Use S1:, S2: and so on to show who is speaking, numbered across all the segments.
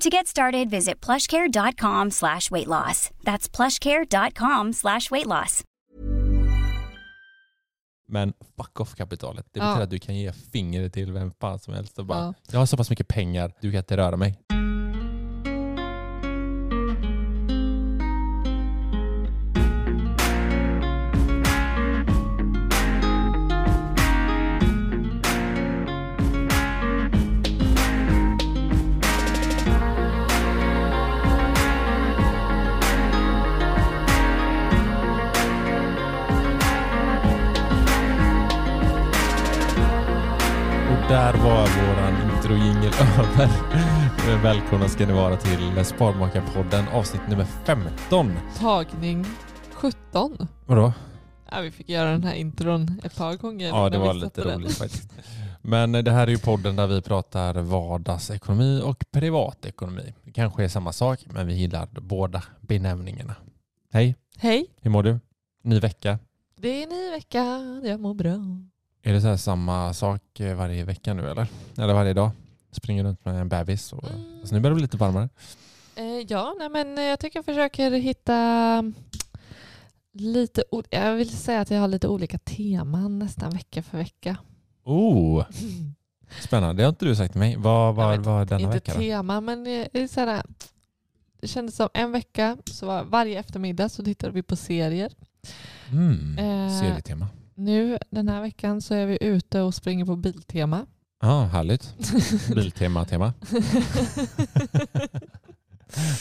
S1: To get started, visit plushcare.com slash weight loss. That's plushcare.com slash weight loss.
S2: Men fuck off kapitalet. Det betyder
S3: Ja.
S2: att du kan ge fingret till vem fan som helst och bara
S3: Ja.
S2: Jag har så pass mycket pengar, du kan inte röra mig. Och där var våran introjingel över. Eh, Välkomna ska ni vara till Sparmakarpodden avsnitt nummer 15.
S3: Tagning 17.
S2: Vadå?
S3: Ja, vi fick göra den här intron ett par gånger.
S2: Ja, det
S3: innan vi
S2: var lite
S3: satte den.
S2: roligt faktiskt. Men eh, det här är ju podden där vi pratar vardagsekonomi och privatekonomi. Det kanske är samma sak, men vi gillar båda benämningarna. Hej,
S3: Hej,
S2: hur mår du? Ny vecka.
S3: det är ny vecka. Jag mår bra.
S2: Är det så här samma sak eh, varje vecka nu eller? Eller varje dag? Springer runt med en bebis. Och...
S3: Mm.
S2: Alltså, nu börjar det bli lite varmare.
S3: Eh, ja, nej, men eh, jag tycker jag försöker hitta lite... o- Jag vill säga att jag har lite olika teman nästan vecka för vecka.
S2: Oh, Spännande. Det har inte du sagt till mig. Vad
S3: Jag
S2: var,
S3: vet
S2: var denna
S3: Inte
S2: vecka? Då?
S3: tema, men eh, det är så här, det kändes som en vecka, så var varje eftermiddag så tittade vi på serier.
S2: Mm.
S3: Eh,
S2: Serietema.
S3: Nu den här veckan så är vi ute och springer på Biltema.
S2: Ja, härligt. Biltema-tema.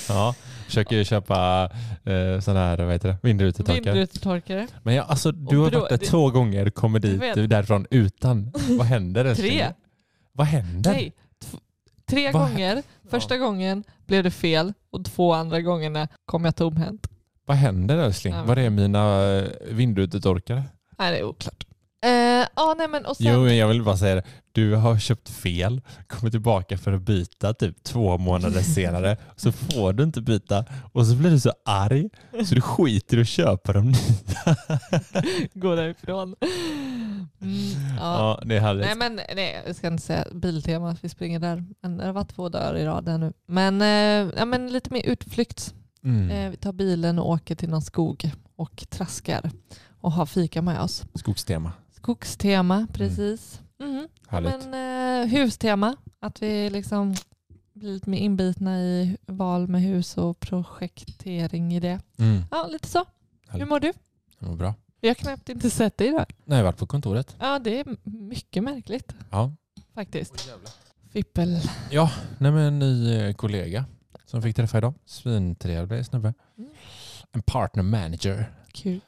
S2: ja, försöker köpa eh, sån här, vad heter det, vindrutetorkar.
S3: Vindrutetorkare.
S2: Men jag, alltså, du har
S3: bro-
S2: varit där
S3: det-
S2: två gånger och kommer dit
S3: vet.
S2: du, därifrån utan. Vad händer? älskling?
S3: Tre.
S2: Vad händer?
S3: Nej, tv- tre
S2: Vad hä-
S3: gånger. Första gången blev det fel och två andra gångerna kom jag tomhänt.
S2: Vad händer älskling?
S3: Ja, men-
S2: Var är mina eh, vindrutetorkare?
S3: Nej, det är oklart. Eh, ah, nej, men, och sen,
S2: Jo, men jag vill bara säga det. Du har köpt fel, kommer tillbaka för att byta typ två månader senare. Så får du inte byta och så blir du så arg så du skiter i att köpa dem nya.
S3: Gå därifrån. Mm, ja.
S2: Ja, det är härligt.
S3: Nej men nej, jag ska inte säga Biltema, att vi springer där. Men det har varit två dagar i rad där nu. Men, eh, ja, men lite mer utflykt. Eh,
S2: Mm.
S3: vi tar bilen och åker till någon skog och traskar och har fika med oss.
S2: Skogstema.
S3: Skogstema, precis. Mhm.
S2: Mm. Härligt.
S3: Men, eh, hustema, att vi liksom blir lite mer inbitna i val med hus och projektering i det.
S2: Mm.
S3: Ja, lite så. Hur
S2: Härligt.
S3: mår du?
S2: Det var bra.
S3: Jag har knappt inte sett dig idag.
S2: Nej, jag har varit på kontoret.
S3: Ja, det är mycket märkligt
S2: Ja.
S3: faktiskt. Fippel.
S2: Nej, men en ny eh, kollega som fick träffa idag. Svintrevlig snubbe.
S3: Mm.
S2: En partner manager.
S3: Kul.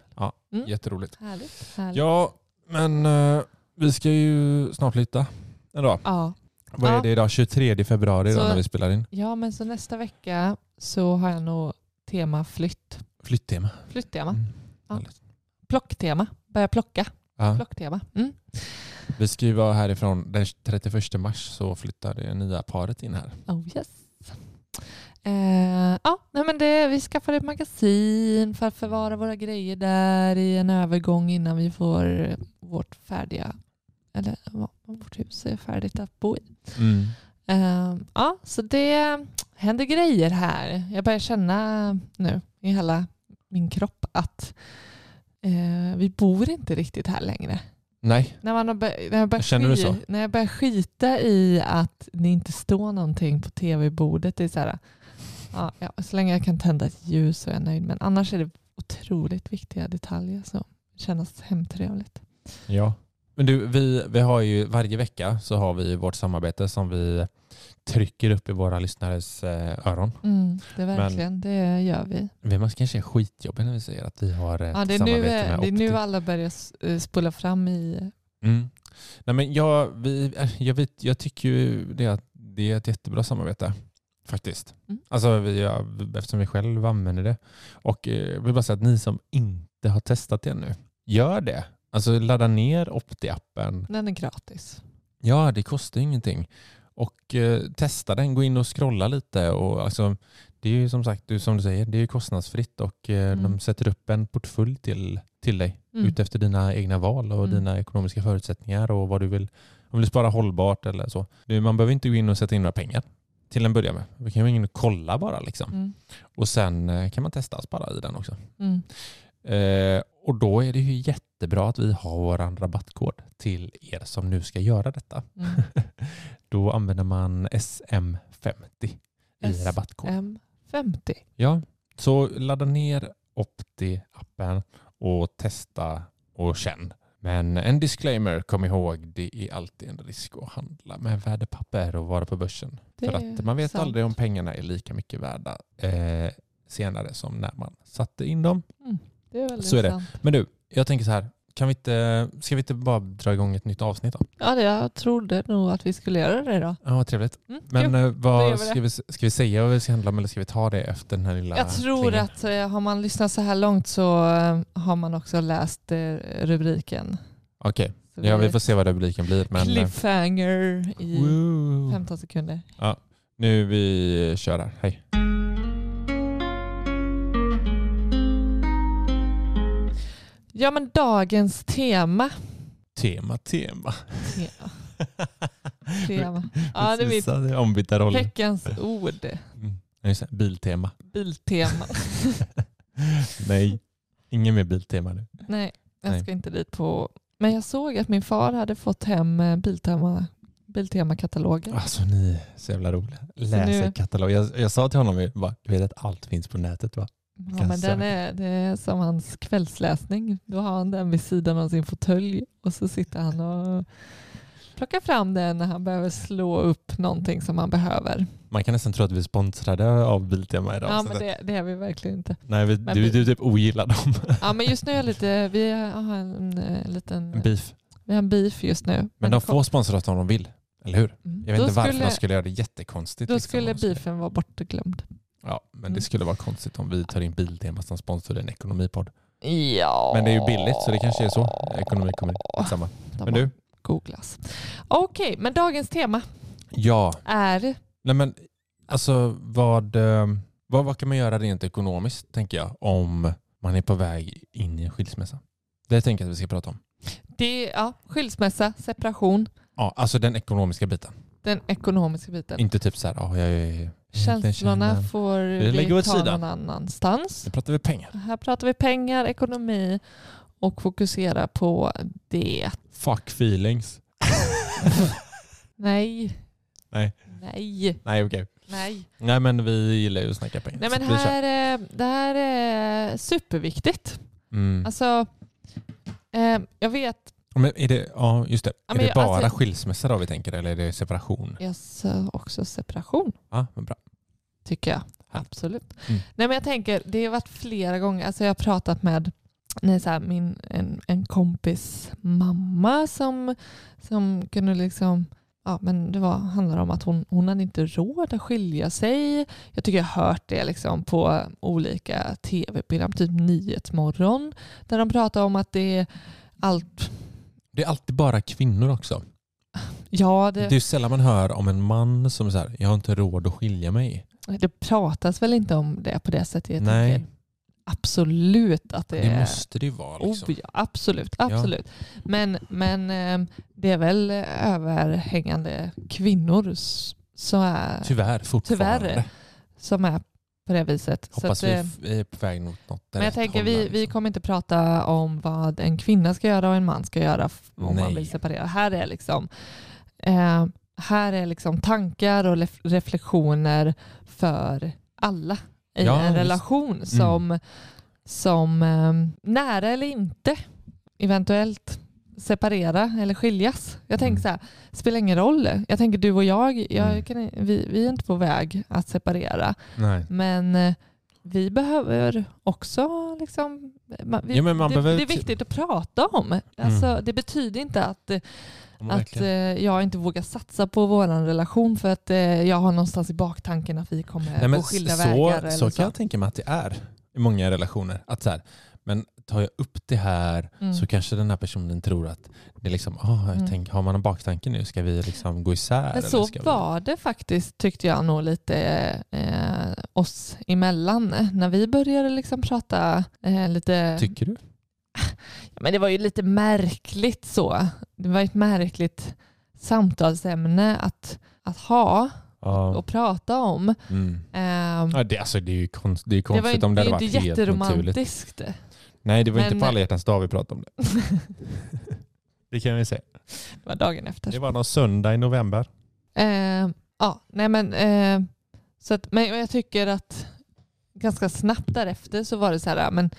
S2: Jätteroligt.
S3: Härligt. härligt.
S2: Ja, men eh, vi ska ju snart flytta en dag.
S3: Ja.
S2: Vad är
S3: Ja.
S2: det idag? 23 februari då
S3: Så-
S2: när vi spelar in.
S3: ja, men så nästa vecka så har jag nog tema flytt.
S2: Flytttema.
S3: Flytttema.
S2: Mm.
S3: Ja.
S2: Härligt.
S3: Plocktema. Börja plocka.
S2: Ja.
S3: Plocktema. Mm.
S2: Vi ska ju vara härifrån den 31 mars så flyttar det nya paret in här.
S3: Oh yes. Eh, ja, nej men det, vi skaffade ett magasin för att förvara våra grejer där i en övergång innan vi får vårt färdiga, eller ja, vårt hus är färdigt att bo i.
S4: Mm.
S3: Eh, ja, så det händer grejer här. Jag börjar känna nu i hela min kropp att eh, vi bor inte riktigt här längre.
S4: Nej.
S3: När, man har bör- när, jag börjar
S4: Känner du så?
S3: när jag börjar skita i att det inte står någonting på tv-bordet. Det är så här, ja, ja, så länge jag kan tända ett ljus så är jag nöjd. Men annars är det otroligt viktiga detaljer som känns hemtrevligt.
S4: Ja. Men du, vi, vi har ju varje vecka så har vi vårt samarbete som vi trycker upp i våra lyssnares eh, öron.
S3: Mm, det är verkligen, det gör vi.
S4: Vi måste kanske är skitjobbiga när vi säger att vi har ett
S3: Ja, det, är nu,
S4: samarbete med
S3: eh, det är
S4: Opti.
S3: nu alla börjar s- eh, spola fram i...
S4: Mm. Nej, men jag, vi, eh, jag, vet, jag tycker ju det att det är ett jättebra samarbete faktiskt.
S3: Mm.
S4: Alltså, vi, ja, eftersom vi själv använder det. Och eh, jag vill bara säga att ni som inte har testat det ännu, gör det. Alltså ladda ner Opti-appen.
S3: Den är gratis.
S4: Ja, det kostar ju ingenting. Och eh, testa den, gå in och scrolla lite. Och, alltså, det är ju som sagt, du, som du säger, det är ju kostnadsfritt och eh,
S3: Mm.
S4: de sätter upp en portfölj till, till dig
S3: Mm.
S4: utefter dina egna val och
S3: Mm.
S4: dina ekonomiska förutsättningar och vad du vill. Om du vill spara hållbart eller så. Du, man behöver inte gå in och sätta in några pengar till en början med. Vi kan gå in och kolla bara liksom.
S3: Mm.
S4: Och sen eh, kan man testa att spara i den också.
S3: Mm.
S4: Eh, och då är det ju jättebra att vi har vår rabattkod till er som nu ska göra detta.
S3: Mm.
S4: Då använder man SM50 i
S3: SM.
S4: rabattkod.
S3: M50.
S4: Ja, så ladda ner Opti-appen och testa och känn. Men en disclaimer, kom ihåg, det är alltid en risk att handla med värdepapper och vara på börsen.
S3: Det
S4: För
S3: är
S4: att man vet
S3: sant.
S4: aldrig om pengarna är lika mycket värda eh, senare som när man satte in dem.
S3: Det är väldigt
S4: Så är det.
S3: sant.
S4: Men du, jag tänker så här, kan vi inte, ska vi inte bara dra igång ett nytt avsnitt då?
S3: Ja, det, jag trodde nog att vi skulle göra det då.
S4: Ja, vad trevligt.
S3: Mm,
S4: Men
S3: kul. då
S4: eh,
S3: gör
S4: vad
S3: vi det.
S4: ska vi, ska vi säga vad vi ska handla om eller ska vi ta det efter den här lilla
S3: jag tror
S4: klingan?
S3: att eh, har man lyssnat så här långt så eh, har man också läst eh, rubriken.
S4: Okej,
S3: Så
S4: ja, vi
S3: blir
S4: får se vad rubriken blir. Men, eh,
S3: Cliffhanger i
S4: Wow.
S3: 15 sekunder.
S4: Nu vi kör här. Hej.
S3: Ja, men dagens tema.
S4: Tema, tema.
S3: Te- tema. Ja, det är mitt
S4: Precis, det är ombytta roller.
S3: veckans ord.
S4: Mm. Ja, just det. Biltema.
S3: Biltema.
S4: Nej, ingen mer biltema nu.
S3: Nej, jag
S4: Nej.
S3: ska inte dit på... Men jag såg att min far hade fått hem eh, Biltema- Biltema-katalogen.
S4: Alltså ni är så jävla roliga.
S3: nu-
S4: Läser katalog. Jag, jag sa till honom, ju, bara, du vet att allt finns på nätet va?
S3: Ja,
S4: Kan
S3: men den
S4: söka.
S3: är, det är som hans kvällsläsning. Då har han den vid sidan av sin fåtölj och så sitter han och plockar fram den när han behöver slå upp någonting som han behöver.
S4: Man kan nästan tro att vi är sponsrade av Biltema idag.
S3: Ja,
S4: så
S3: men
S4: att-
S3: det, det är vi verkligen inte.
S4: Nej, vi,
S3: Men
S4: du,
S3: vi-
S4: du typ ogillar dem.
S3: Ja, men just nu är jag lite, vi har en eh, liten,
S4: Beef. Men,
S3: vi har en beef just nu.
S4: de får sponsra oss om de vill. Eller hur?
S3: Mm.
S4: Jag vet
S3: då
S4: inte varför
S3: skulle,
S4: de skulle göra det jättekonstigt.
S3: Då
S4: liksom, om
S3: skulle
S4: de skulle-
S3: beefen vara bortglömd.
S4: Ja, men
S3: Mm.
S4: det skulle vara konstigt om vi tar in Biltema som sponsor i en ekonomipodd.
S3: Ja.
S4: Men det är ju billigt så det kanske är så. Ekonomi kommer samma.
S3: De
S4: Men du?
S3: Googlas. Okej, men dagens tema
S4: Ja,
S3: är
S4: nej men alltså vad, eh, vad, vad kan man göra rent ekonomiskt tänker jag om man är på väg in i en skilsmässa? Det tänker jag att vi ska prata om.
S3: det, ja, skilsmässa, separation,
S4: Ja, alltså den ekonomiska biten.
S3: den ekonomiska biten.
S4: Inte typ så här, ja jag är...
S3: Känslorna får
S4: Vi lägger
S3: vi
S4: åt
S3: ta
S4: sidan.
S3: någon annanstans.
S4: Nu pratar vi pengar.
S3: Här pratar vi pengar, ekonomi och fokusera på det.
S4: Fuck feelings.
S3: Nej.
S4: Nej.
S3: Nej.
S4: Nej okej.
S3: Nej.
S4: Nej men vi gillar ju att snacka pengar.
S3: Nej
S4: så
S3: men
S4: vi kör.
S3: här, eh, det här är superviktigt.
S4: Mm.
S3: Alltså, eh, jag vet,
S4: men är det, ja just det.
S3: Ja,
S4: är
S3: men
S4: det
S3: jag-
S4: bara
S3: alltså-
S4: skilsmässa då vi tänker eller är det separation?
S3: jag sa eh, också separation
S4: Ja, men bra.
S3: tycker jag.
S4: Härligt.
S3: Absolut.
S4: Mm.
S3: Nej men jag tänker, det har varit flera gånger, alltså jag har pratat med nej, så här, min, en, en kompis mamma som, som kunde liksom, ja men det var, handlar om att hon, hon hade inte råd att skilja sig. Jag tycker jag har hört det liksom på olika tv-program, typ Nyhetsmorgon, där de pratar om att det är allt,
S4: Det är alltid bara kvinnor också.
S3: ja
S4: Det
S3: det,
S4: är ju sällan man hör om en man som är så här, jag har inte råd att skilja mig.
S3: det pratas väl inte om det på det sättet. Jag
S4: Nej.
S3: tänker absolut att det,
S2: Det
S3: är...
S2: måste det ju vara. Liksom.
S3: Oh, ja, absolut, absolut. Men, men ehm, det är väl överhängande kvinnor s- som är,
S2: Tyvärr fortfarande.
S3: Tyvärr. som är på det viset. Så
S2: Hoppas
S3: att,
S2: vi
S3: eh,
S2: f- är på väg mot något
S3: men jag
S2: rätt
S3: tänker
S2: håll
S3: vi,
S2: där,
S3: vi
S2: liksom.
S3: kommer inte prata om vad en kvinna ska göra och en man ska göra f- om
S2: Nej.
S3: man vill separera. Här är liksom, eh, här är liksom tankar och lef- reflektioner för alla i
S2: Ja,
S3: en
S2: visst. Mm.
S3: relation som, som eh, nära eller inte eventuellt separera eller skiljas. Jag tänker
S4: Mm.
S3: så här, spelar ingen roll. Jag tänker du och jag,
S4: Mm.
S3: jag kan, vi, vi är inte på väg att separera.
S4: Nej.
S3: Men eh, vi behöver också... Liksom, man, vi,
S4: Ja, men man
S3: det,
S4: behöver
S3: det är
S4: ty-
S3: viktigt att prata om. Alltså, Det betyder inte att, eh,
S2: Om man
S3: att eh,
S2: Mm. verkligen-
S3: jag inte vågar satsa på vår relation för att eh, jag har någonstans i baktanken att vi kommer
S2: Nej, men
S3: gå Eh, skilda
S2: så,
S3: vägar. eller
S2: så kan jag tänka mig att det är i många relationer. Att så här, men tar jag upp det här
S3: Mm.
S2: så kanske den här personen tror att det är liksom, ah, jag
S3: Mm.
S2: tänker, har man en baktanke nu? Ska vi liksom gå isär?
S3: Men
S2: eller
S3: så
S2: ska vi-
S3: var det faktiskt tyckte jag nog lite eh, oss emellan. När vi började liksom prata eh, lite...
S2: Tycker du?
S3: Men det var ju lite märkligt så. Det var ett märkligt samtalsämne att, att ha
S2: Ja.
S3: och prata om.
S2: Mm.
S3: Ehm,
S2: Ja, det, alltså, det är ju konst, det är ju
S3: det
S2: konstigt
S3: var ju
S2: om det
S3: det
S2: hade
S3: är
S2: varit
S3: inte
S2: helt naturligt.
S3: jätteromantiskt.
S2: Nej, det var
S3: Men-
S2: inte på alla hjärtans dag vi pratade om det. det kan vi säga.
S3: Det var dagen efter.
S2: Det var någon söndag i november.
S3: Ehm, ja, nej men, eh, så att, men jag tycker att ganska snabbt därefter så var det så här, ja, men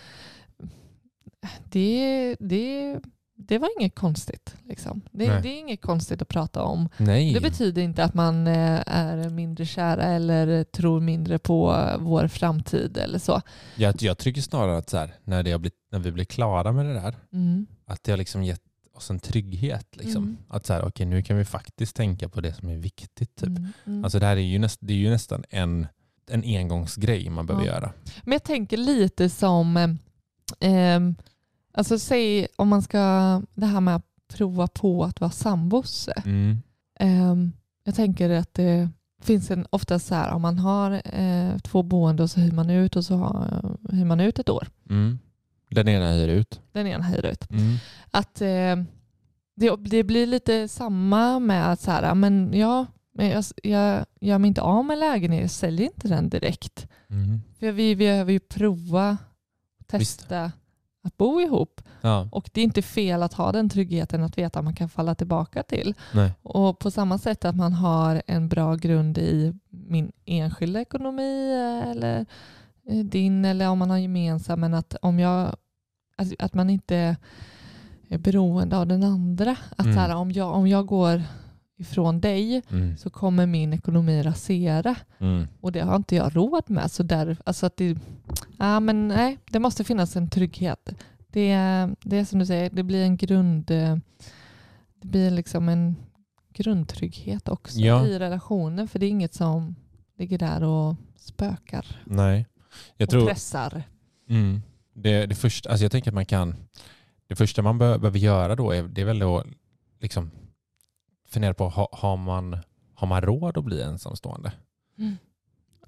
S3: det, det, det var inget konstigt. Liksom. Det,
S2: Nej.
S3: det är inget konstigt att prata om.
S2: Nej.
S3: Det betyder inte att man eh, är mindre kära eller tror mindre på eh, vår framtid eller så.
S2: jag, jag tycker snarare att så här, när, det har blivit, när vi blir klara med det där,
S3: Mm.
S2: att det har liksom gett oss en trygghet. Liksom.
S3: Mm.
S2: Att så här, okej, nu kan vi faktiskt tänka på det som är viktigt. Typ.
S3: Mm, mm.
S2: Alltså, det här är ju, näst, det är ju nästan en, en engångsgrej man behöver
S3: Ja.
S2: göra.
S3: Men jag tänker lite som, eh, ehm, alltså säg om man ska, det här med att prova på att vara sambos.
S2: Mm.
S3: Ehm, jag tänker att det finns en, ofta så här om man har eh, två boende och så hyr man ut och så har, hyr man ut ett år.
S2: Mm. Den ena hyr ut.
S3: Den ena hyr ut.
S2: Mm.
S3: att eh, det, det blir lite samma med att så här, "Ah, men ja, men jag, jag gör mig inte av med lägenheten, jag säljer inte den direkt.
S2: Mm.
S3: För vi vi behöver ju prova,
S2: Visst.
S3: testa att bo ihop.
S2: Ja.
S3: Och det är inte fel att ha den tryggheten att veta att man kan falla tillbaka till.
S2: Nej.
S3: Och på samma sätt att man har en bra grund i min enskilda ekonomi eh, eller eh, din eller om man har gemensam men att om jag alltså, att man inte är beroende av den andra. Att
S2: Mm.
S3: så här, om, jag, om jag går ifrån dig
S2: Mm.
S3: så kommer min ekonomi rasera
S2: Mm.
S3: och det har inte jag råd med. Så där, alltså att det, ja, men nej, det måste finnas en trygghet. Det, är- det är som du säger, det blir en grund eh, det blir liksom en grundtrygghet också
S2: Ja.
S3: i relationen för det är inget som ligger där och spökar
S2: Nej. Jag
S3: och
S2: tror,
S3: pressar.
S2: Mm. Det, det första, alltså jag tänker att man kan, det första man bör, behöver göra då är, det är väl då liksom fundera på, ha, har, man, har man råd att bli ensamstående?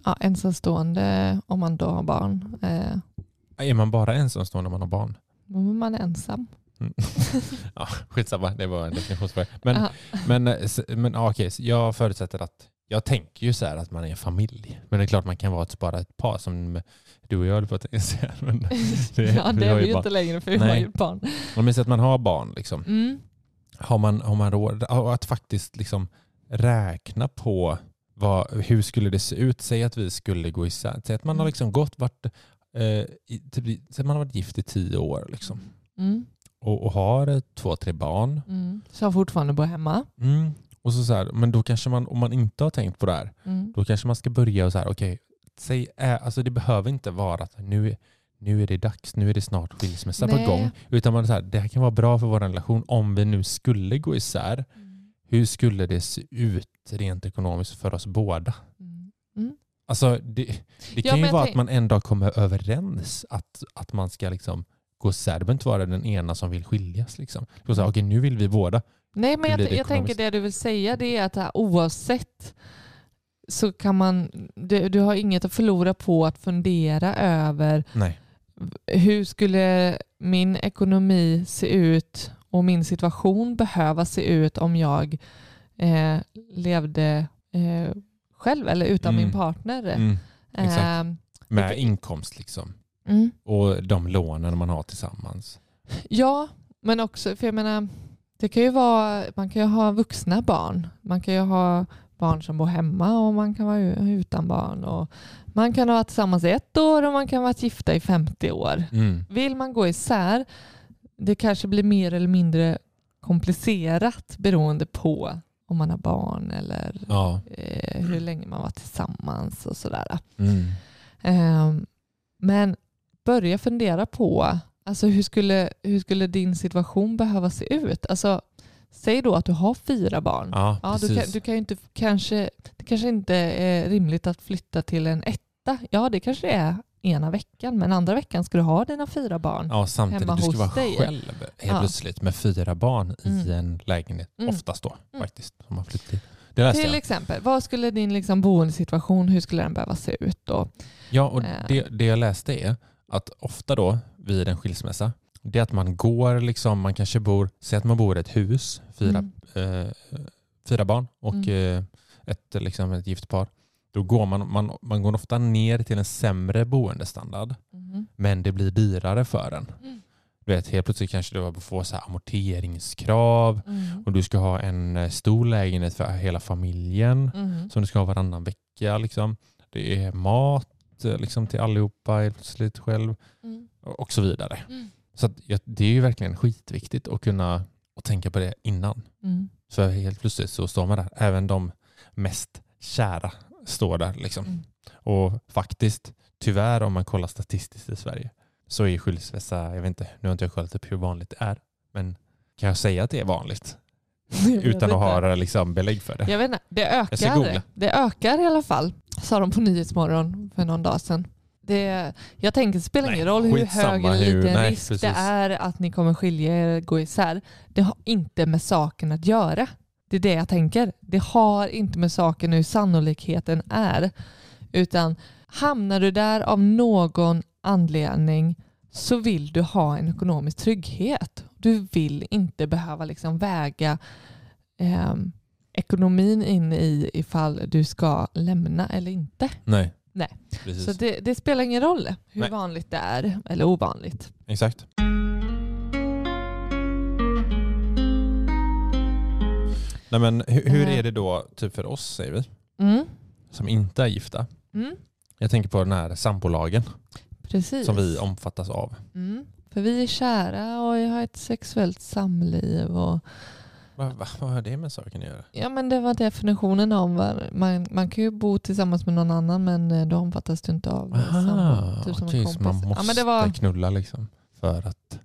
S3: Ja, ensamstående om man då har barn. Eh,
S2: Är man bara ensamstående om man har barn?
S3: då är man ensam.
S2: Mm. Ja, skitsamma, det var en definitionsfråga. Men,
S3: Ja.
S2: men, eh, s- men ja, okej, så jag förutsätter att, jag tänker ju så här att man är en familj. Men det är klart man kan vara ett, bara ett par som du och jag höll på att säga. Men, det-
S3: ja,
S2: vi
S3: det
S2: har
S3: är
S2: ju
S3: vi ju
S2: barn.
S3: inte längre för vi har
S2: Nej.
S3: ju barn.
S2: om man säger att man har barn liksom.
S3: Mm.
S2: har man, har man råd och att faktiskt liksom räkna på vad, hur skulle det se ut? Säg att vi skulle gå isär. Säg att man har
S3: Mm.
S2: liksom gått varit, eh, i, typ, i- säg att man har varit gift i tio år liksom.
S3: Mm.
S2: och, och har eh, två, tre barn.
S3: Mm. Som fortfarande bor hemma.
S2: Mm. Och så så här, men då kanske man, om man inte har tänkt på det här,
S3: Mm.
S2: då kanske man ska börja och så här, okej, säg, eh, alltså det behöver inte vara att nu, nu är det dags, nu är det snart skilsmässa
S3: Nej.
S2: på gång. Utan man så här, det här kan vara bra för vår relation om vi nu skulle gå isär. Hur skulle det se ut rent ekonomiskt för oss båda?
S3: Mm.
S2: Alltså, det det
S3: Ja,
S2: kan
S3: men
S2: ju
S3: jag
S2: vara
S3: tänk-
S2: att man en dag kommer överens att, att man ska liksom gå isär. Det behöver inte vara den ena som vill skiljas. Liksom. Det kan vara så
S3: Mm.
S2: här, Okej, nu vill vi båda.
S3: Nej, men
S2: Hur
S3: jag,
S2: blir det
S3: jag tänker
S2: ekonomiskt?
S3: det du vill säga det är att det här, oavsett så kan man, du, du har inget att förlora på att fundera över
S2: Nej.
S3: hur skulle min ekonomi se ut och min situation behöva se ut om jag eh, levde eh, själv eller utan
S2: Mm.
S3: min partner.
S2: Mm. exakt.
S3: Eh,
S2: Med inkomst liksom.
S3: mm.
S2: Och de lånen man har tillsammans.
S3: Ja, men också, för jag menar, det kan ju vara, man kan ju ha vuxna barn. Man kan ju ha barn som bor hemma och man kan vara u- utan barn. Och man kan ha varit tillsammans i ett år och man kan ha varit gifta i 50 år.
S2: Mm.
S3: Vill man gå isär, det kanske blir mer eller mindre komplicerat beroende på om man har barn eller
S2: Ja.
S3: eh, hur länge man var tillsammans och sådär.
S2: Mm.
S3: Ehm, men börja fundera på alltså hur, skulle, hur skulle din situation behöva se ut? Alltså, säg då att du har fyra barn.
S2: Ja,
S3: Ja, du
S2: precis.
S3: kan, du kan ju inte, kanske, det kanske inte är rimligt att flytta till en etta. Ja, det kanske det är ena veckan, men andra veckan ska du ha dina fyra barn.
S2: Ja, samtidigt
S3: hemma
S2: du ska
S3: hos
S2: vara
S3: dig.
S2: själv helt
S3: Ja.
S2: plötsligt med fyra barn i
S3: Mm.
S2: en lägenhet.
S3: Mm.
S2: Oftast då
S3: Mm.
S2: faktiskt. Som man flyttar till. Det läste
S3: Till
S2: jag.
S3: exempel, vad skulle din liksom boendesituation, hur skulle den behöva se ut då?
S2: Ja, och
S3: Eh.
S2: det, det jag läste är att ofta då vid en skilsmässa, det är att man går liksom, man kanske bor, säg att man bor i ett hus, fyra,
S3: Mm.
S2: eh, fyra barn och eh, ett, liksom, ett gift par. Då går man, man, man går ofta ner till en sämre boendestandard,
S3: Mhm.
S2: men det blir dyrare för en.
S3: Mm.
S2: Du vet, helt plötsligt kanske du får så här amorteringskrav
S3: Mm.
S2: och du ska ha en eh, stor lägenhet för hela familjen
S3: Mhm.
S2: som du ska ha varannan vecka. Liksom. Det är mat eh, liksom, till allihopa helt plötsligt själv
S3: Mm.
S2: och och så vidare.
S3: Mm.
S2: Så att, jag- det är ju verkligen skitviktigt att kunna och tänka på det innan.
S3: Mm.
S2: För helt plötsligt så står man där, även de mest kära står där. Liksom.
S3: Mm.
S2: Och faktiskt, tyvärr om man kollar statistiskt i Sverige så är skilsmässa, jag vet inte, nu har inte jag kollat upp hur vanligt det är, men kan jag säga att det är vanligt
S3: Mm, Jag vet
S2: utan att
S3: inte.
S2: ha liksom, belägg för det?
S3: Jag vet inte, det
S2: Jag ska googla.
S3: ökar. Det ökar i alla fall, sa de på Nyhetsmorgon för någon dag sedan. Det, jag tänker, det spelar ingen
S2: Nej,
S3: roll hur
S2: skitsamma
S3: hög eller
S2: hur-
S3: liten
S2: nej,
S3: risk
S2: precis.
S3: det är att ni kommer skilja er, gå isär. Det har inte med saken att göra. Det är det jag tänker. Det har inte med saken hur sannolikheten är. Utan hamnar du där av någon anledning så vill du ha en ekonomisk trygghet. Du vill inte behöva liksom väga ehm, ekonomin in i ifall du ska lämna eller inte.
S2: Nej.
S3: Nej.
S2: Precis.
S3: Så det, det spelar ingen roll hur
S2: Nej.
S3: vanligt det är eller ovanligt.
S2: Exakt. Nej, men hur, hur
S3: Eh.
S2: är det då typ för oss säger vi,
S3: Mm.
S2: som inte är gifta?
S3: Mm.
S2: Jag tänker på den här sambolagen
S3: Precis.
S2: som vi omfattas av.
S3: mm. För vi är kära och jag har ett sexuellt samliv. Och,
S2: Vad, vad, vad har det med saken att göra?
S3: ja men det var definitionen om var, man, man kan ju bo tillsammans med någon annan men eh, då omfattas du inte av eh, sambo. Typ som
S2: okej,
S3: en
S2: så
S3: kompis.
S2: man måste
S3: ja, men det var,
S2: knulla liksom för att...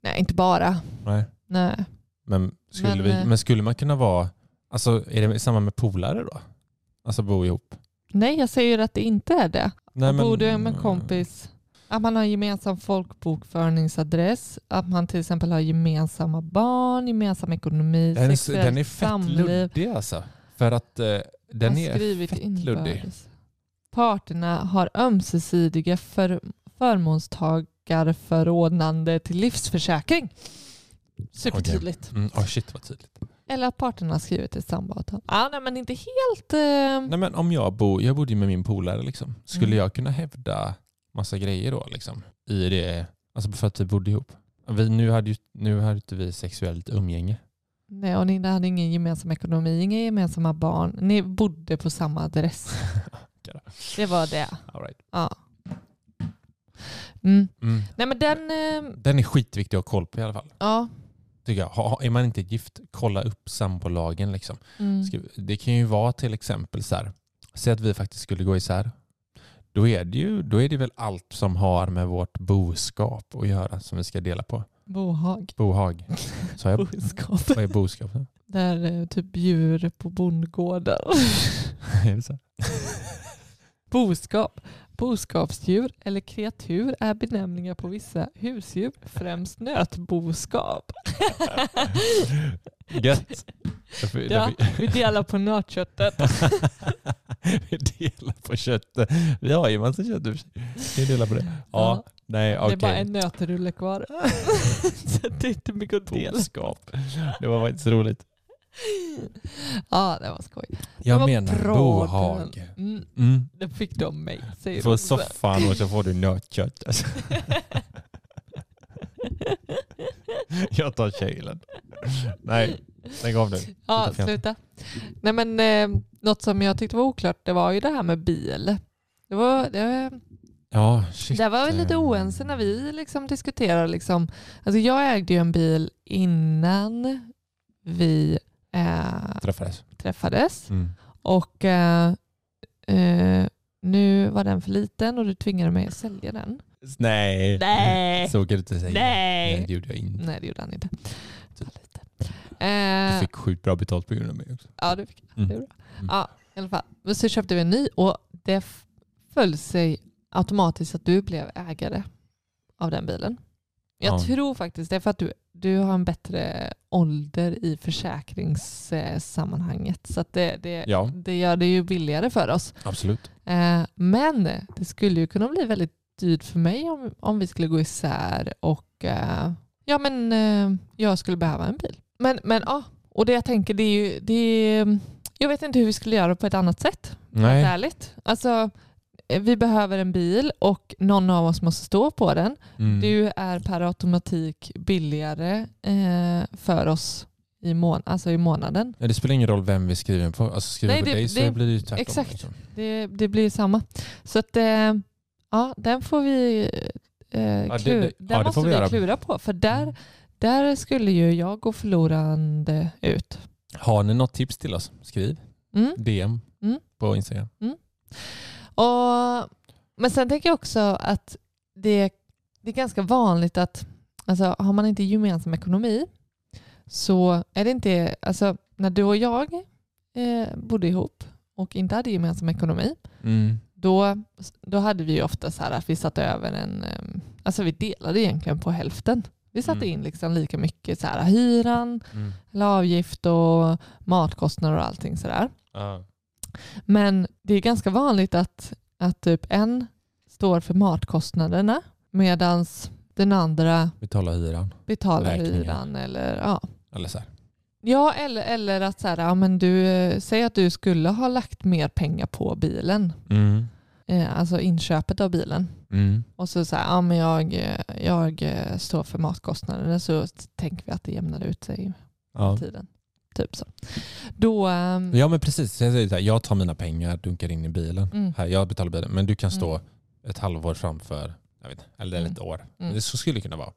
S3: nej inte bara.
S2: Nej.
S3: Nej.
S2: Men skulle,
S3: Men,
S2: vi,
S3: eh.
S2: men skulle man kunna vara... Alltså är det samma med polare då? Alltså bo ihop?
S3: nej jag säger att det inte är det.
S2: Nej,
S3: Bor du med en kompis, att man har gemensam folkbokföringsadress, att man till exempel har gemensamma barn, gemensam ekonomi,
S2: Den är,
S3: sexuellt
S2: den är fett
S3: samliv.
S2: luddig alltså. För att eh, den
S3: har
S2: är
S3: skrivit
S2: fett
S3: inbördes.
S2: luddig.
S3: Parterna har ömsesidiga för, förmånstagarförordnande till livsförsäkring. Supertydligt.
S2: Mm, oh shit vad tydligt.
S3: Eller att parterna har skrivit ett samboavtal. Ah, nej, men inte helt... Eh,
S2: Nej, men om jag, bo, jag bodde ju med min polare, liksom. skulle
S3: Mm.
S2: jag kunna hävda massa grejer då? Liksom, i det, alltså för att vi bodde ihop. Vi, nu, hade ju, nu hade inte vi sexuellt umgänge.
S3: nej, och ni hade ingen gemensam ekonomi, inga gemensamma barn. Ni bodde på samma adress. Det var det.
S2: All right.
S3: Ja. Mm.
S2: mm.
S3: Nej men den, eh,
S2: Den är skitviktig att ha koll på i alla fall.
S3: ja.
S2: Tycker jag. Ha, är man inte gift, kolla upp sambolagen. Liksom.
S3: Mm.
S2: Ska- Det kan ju vara till exempel så här, säg att vi faktiskt skulle gå isär. Då är, det ju, då är det väl allt som har med vårt boskap att göra som vi ska dela på.
S3: Bohag.
S2: Bohag. Så jag,
S3: Boskap.
S2: vad är boskap?
S3: Där eh, typ djur på bondgårdar.
S2: Är det så här?
S3: Boskap. Boskapsdjur eller kreatur är benämningar på vissa husdjur, främst nötboskap.
S2: Gött. Därför,
S3: Ja, vi delar på nötköttet.
S2: därför,
S4: Vi delar på köttet. Vi har ju massa kött i och för sig. Vi delar på det. Ja,
S3: Ja.
S4: nej
S3: Det
S4: okej.
S3: är bara en nötrulle kvar. så det är inte mycket att dela.
S4: Boskap. Det var faktiskt roligt.
S3: Ja, det var skoj.
S2: Jag
S3: var
S2: menar
S3: bra,
S2: bohag.
S3: Björn. Mm,
S4: Mm.
S3: det fick de mig, säger
S4: Du får
S3: Rosa.
S4: soffan och så får du nötkött. Alltså, jag tar kylen. Nej, lägg av nu.
S3: Ja,
S4: Sluta
S3: sluta. Nej, men, eh, något som jag tyckte var oklart det var ju det här med bil. Det var, det,
S2: Ja, shit.
S3: där var vi lite
S2: eh.
S3: oense när vi liksom diskuterade. Liksom. Alltså, jag ägde ju en bil innan vi eh,
S2: Träffades.
S3: träffades
S2: Mm.
S3: och eh, eh, nu var den för liten och du tvingade mig att sälja den.
S4: Nej.
S3: Nej.
S2: Så kan du inte säga.
S3: Nej.
S2: det gjorde jag inte.
S3: Nej, det gjorde han inte. Den var liten.
S2: Typ. Du
S3: Eh,
S2: fick sjukt bra betalt på grund av mig också.
S3: Ja, det fick jag.
S2: Mm.
S3: Det gjorde jag. Ja, i alla fall. Men så köpte vi en ny och det f- föll sig automatiskt att du blev ägare av den bilen. Jag
S2: Ja.
S3: tror faktiskt det är för att du, du har en bättre ålder i försäkringssammanhanget. Så att det, det,
S2: Ja,
S3: det gör det ju billigare för oss.
S2: absolut.
S3: Eh, Men det skulle ju kunna bli väldigt dyrt för mig om, om vi skulle gå isär och eh, ja, men, eh, jag skulle behöva en bil. Men, men ja, och det jag tänker det är ju, det är, jag vet inte hur vi skulle göra på ett annat sätt. Helt
S2: Nej.
S3: ärligt. Alltså, eh, vi behöver en bil och någon av oss måste stå på den.
S2: Mm.
S3: Du är per automatik billigare eh, för oss i, mån- alltså i månaden.
S2: Nej, det spelar ingen roll vem vi skriver den på. Alltså skriver
S3: Nej,
S2: på
S3: det-
S2: dig så
S3: det-
S2: blir det ju tvärtom.
S3: exakt.
S2: liksom.
S3: Det, det blir ju samma. Så att, eh, ja, den får vi, eh,
S2: det-
S3: klu-
S2: det-
S3: den
S2: ja, det
S3: måste
S2: får vi
S3: vi,
S2: göra. Mm.
S3: klura på. För där, där skulle ju jag gå förlorande ut.
S2: Har ni något tips till oss? Skriv
S3: Mm.
S2: DM
S3: Mm.
S2: på Instagram.
S3: Och, men sen tänker jag också att det, det är ganska vanligt att alltså, har man inte gemensam ekonomi så är det inte, alltså när du och jag eh, bodde ihop och inte hade gemensam ekonomi
S2: Mm.
S3: då, då hade vi ju ofta så här att vi satte över en, ehm, alltså vi delade egentligen på hälften. Vi satte
S2: Mm.
S3: in liksom lika mycket så här, hyran,
S2: Mm.
S3: eller avgift och matkostnader och allting sådär. Men det är ganska vanligt att, att typ en står för matkostnaderna medan den andra
S2: Betala hyran.
S3: betalar
S2: Räkningar.
S3: hyran. Eller, ja.
S2: Eller så här.
S3: Ja, eller, eller att så här, ja, men du, eh, säg att du skulle ha lagt mer pengar på bilen,
S2: Mm.
S3: eh, alltså inköpet av bilen.
S2: Mm.
S3: Och så säger ja, men jag, eh, jag eh, står för matkostnaderna så tänker vi att det jämnar ut sig
S2: Ja.
S3: med tiden. Typ så. Då, ehm,
S2: ja men precis. Så Jag, säger så här, jag tar mina pengar, dunkar in i bilen.
S3: mm,
S2: Här, jag betalar bilen. Men du kan stå ett halvår framför, jag vet, inte, eller
S3: Mm.
S2: ett år.
S3: Mm.
S2: Det så skulle det kunna vara.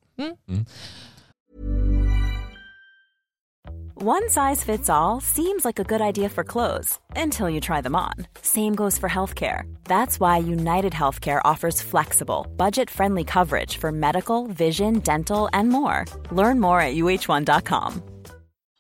S5: One size fits all seems like a good idea for clothes until you try them on. Same goes for healthcare. That's why United Healthcare offers flexible, budget friendly coverage for medical, vision, dental, and more. Learn more at uh1.com.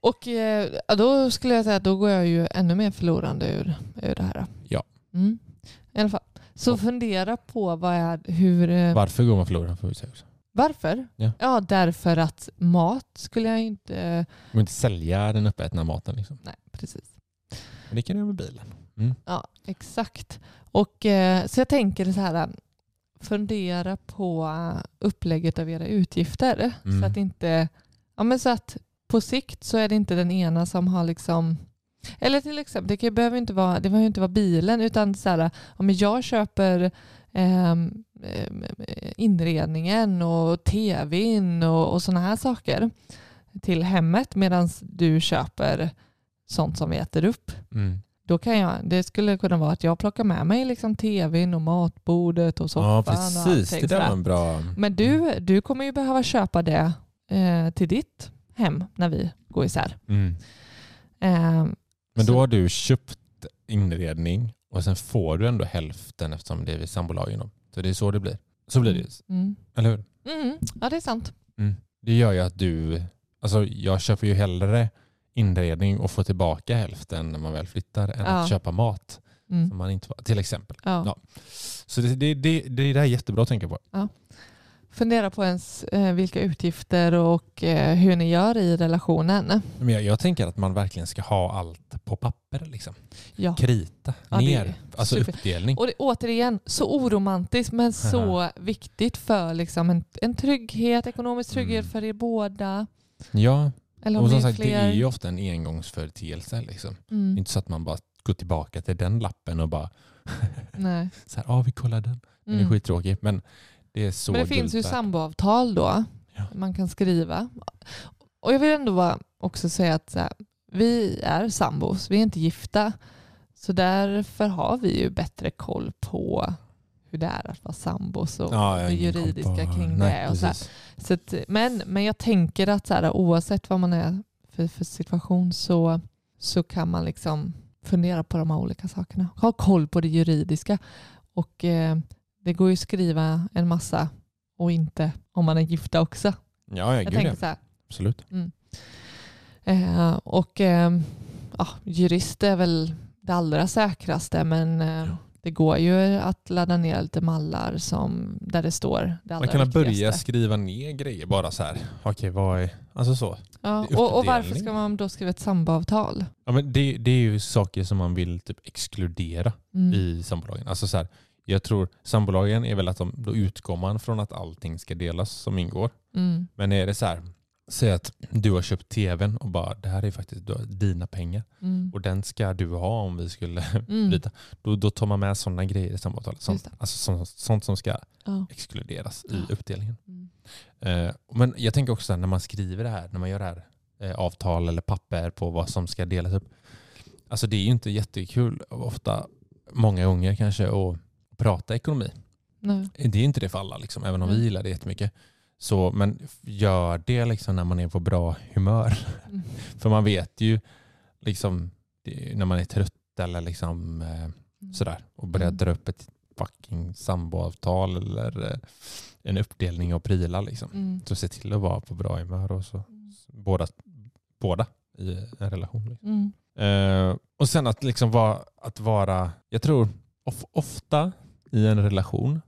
S3: Och eh, ja, då skulle jag säga att då går jag ju ännu mer förlorande ur, ur det här.
S2: Ja.
S3: Mm. I alla fall. Så fundera på vad är, hur, eh,
S2: Varför går man förlorad får vi säga också.
S3: varför?
S2: Ja.
S3: därför att mat skulle jag inte... eh,
S2: Man vill inte sälja den uppätna maten liksom.
S3: nej, precis.
S2: Men det kan du göra med bilen.
S3: Ja, exakt. Och, eh, så jag tänker så här, fundera på eh, upplägget av era utgifter.
S2: Mm.
S3: Så att inte, ja men så att på sikt så är det inte den ena som har liksom, eller till exempel, det kan ju- behöver ju inte vara, det behöver ju inte vara bilen utan så här, ja men jag köper ehm, ehm, inredningen och tvn och, och sådana här saker till hemmet medan du köper sånt som vi äter upp
S2: Mm.
S3: då kan jag, det skulle kunna vara att jag plockar med mig liksom tvn och matbordet och soffan.
S2: Ja
S3: Och
S2: precis,
S3: allting
S2: det där var
S3: sådär.
S2: en Mm. bra...
S3: Men du, du kommer ju behöva köpa det eh, till ditt hem när vi går isär.
S2: Mm.
S3: Eh,
S2: Men
S3: Så-
S2: då har du köpt inredning och sen får du ändå hälften eftersom det är vid sambolagen. då. Så det är så det blir. Så blir det ju.
S3: Mm.
S2: Eller hur?
S3: Mm. Ja, det är sant.
S2: Det gör ju att du... Alltså jag köper ju hellre inredning och får tillbaka hälften när man väl flyttar än
S3: Ja.
S2: att köpa mat. Som
S3: Mm.
S2: man inte, till exempel.
S3: Ja.
S2: Ja. Så det, det, det, det är det här jättebra att tänka på.
S3: Fundera på ens eh, vilka utgifter och eh, hur ni gör i relationen.
S2: Men jag, jag tänker att man verkligen ska ha allt på papper. Liksom.
S3: Ja.
S2: Krita
S3: Ja, det är
S2: ner. Alltså
S3: super.
S2: uppdelning.
S3: Och det, återigen, så oromantiskt men så viktigt för liksom en, en trygghet, ekonomisk trygghet
S2: Mm.
S3: för er båda.
S2: Ja,
S3: Eller om
S2: och
S3: det
S2: som
S3: är
S2: sagt det
S3: fler.
S2: är ju ofta en engångsföreteelse. Liksom. Det är
S3: mm.
S2: inte så att man bara går tillbaka till den lappen och bara
S3: Nej.
S2: så här, ah, vi kollar den. Den är
S3: Mm.
S2: skittråkig. Men det är så
S3: Men det finns ju
S2: dullt värt.
S3: samboavtal då.
S2: Ja.
S3: Man kan skriva. Och jag vill ändå bara också säga att så här, vi är sambos, vi är inte gifta. Så därför har vi ju bättre koll på hur det är att vara sambos och
S2: Ja, jag har
S3: det
S2: ingen koll
S3: juridiska
S2: på-
S3: kring
S2: Nej,
S3: det. Och så här.
S2: precis.
S3: Så att, men, men jag tänker att så här, oavsett vad man är för, för situation så, så kan man liksom fundera på de här olika sakerna. Ha koll på det juridiska. Och eh, det går ju att skriva en massa och inte om man är gifta också.
S2: Ja, jag,
S3: Jag
S2: gud,
S3: tänker
S2: ja.
S3: så här. Mm.
S2: Absolut.
S3: Eh, och eh, ja, jurist är väl det allra säkraste men eh, det går ju att ladda ner lite mallar som, där det står det allra
S2: Man kan börja
S3: viktigaste.
S2: skriva ner grejer bara så här. Okej, vad är... Alltså så.
S3: Ja,
S2: Det är
S3: och, och varför
S2: uppdelning.
S3: ska man då skriva ett samboavtal?
S2: Ja, men det, det är ju saker som man vill typ exkludera
S3: Mm.
S2: i sambolagen. Alltså så här, jag tror sambolagen är väl att de, då utgår man från att allting ska delas som ingår.
S3: Mm.
S2: Men är det så här, säg att du har köpt tvn och bara det här är faktiskt du- dina pengar
S3: Mm.
S2: och den ska du ha om vi skulle
S3: Mm.
S2: bryta. Då, då tar man med sådana grejer i samboavtalet.
S3: Just
S2: Sånt,
S3: det.
S2: alltså, sånt, sånt som ska
S3: Ja.
S2: exkluderas
S3: Ja.
S2: i uppdelningen.
S3: Mm.
S2: Eh, men jag tänker också så här, när man skriver det här, när man gör det här eh, avtal eller papper på vad som ska delas upp. Alltså det är ju inte jättekul ofta, många gånger kanske, att prata ekonomi.
S3: Nej.
S2: Det är inte det för alla, liksom, även om vi
S3: Mm.
S2: gillar det jättemycket. Så, men gör det liksom när man är på bra humör.
S3: Mm.
S2: För man vet ju liksom, det är när man är trött eller liksom, eh, sådär och börjar
S3: Mm.
S2: dra upp ett fucking samboavtal eller eh, en uppdelning av prylar. Liksom.
S3: Mm.
S2: Så se till att vara på bra humör och så. Båda, båda i en relation. Liksom.
S3: Mm.
S2: Eh, och sen att, liksom vara, att vara, jag tror of, ofta i en relation,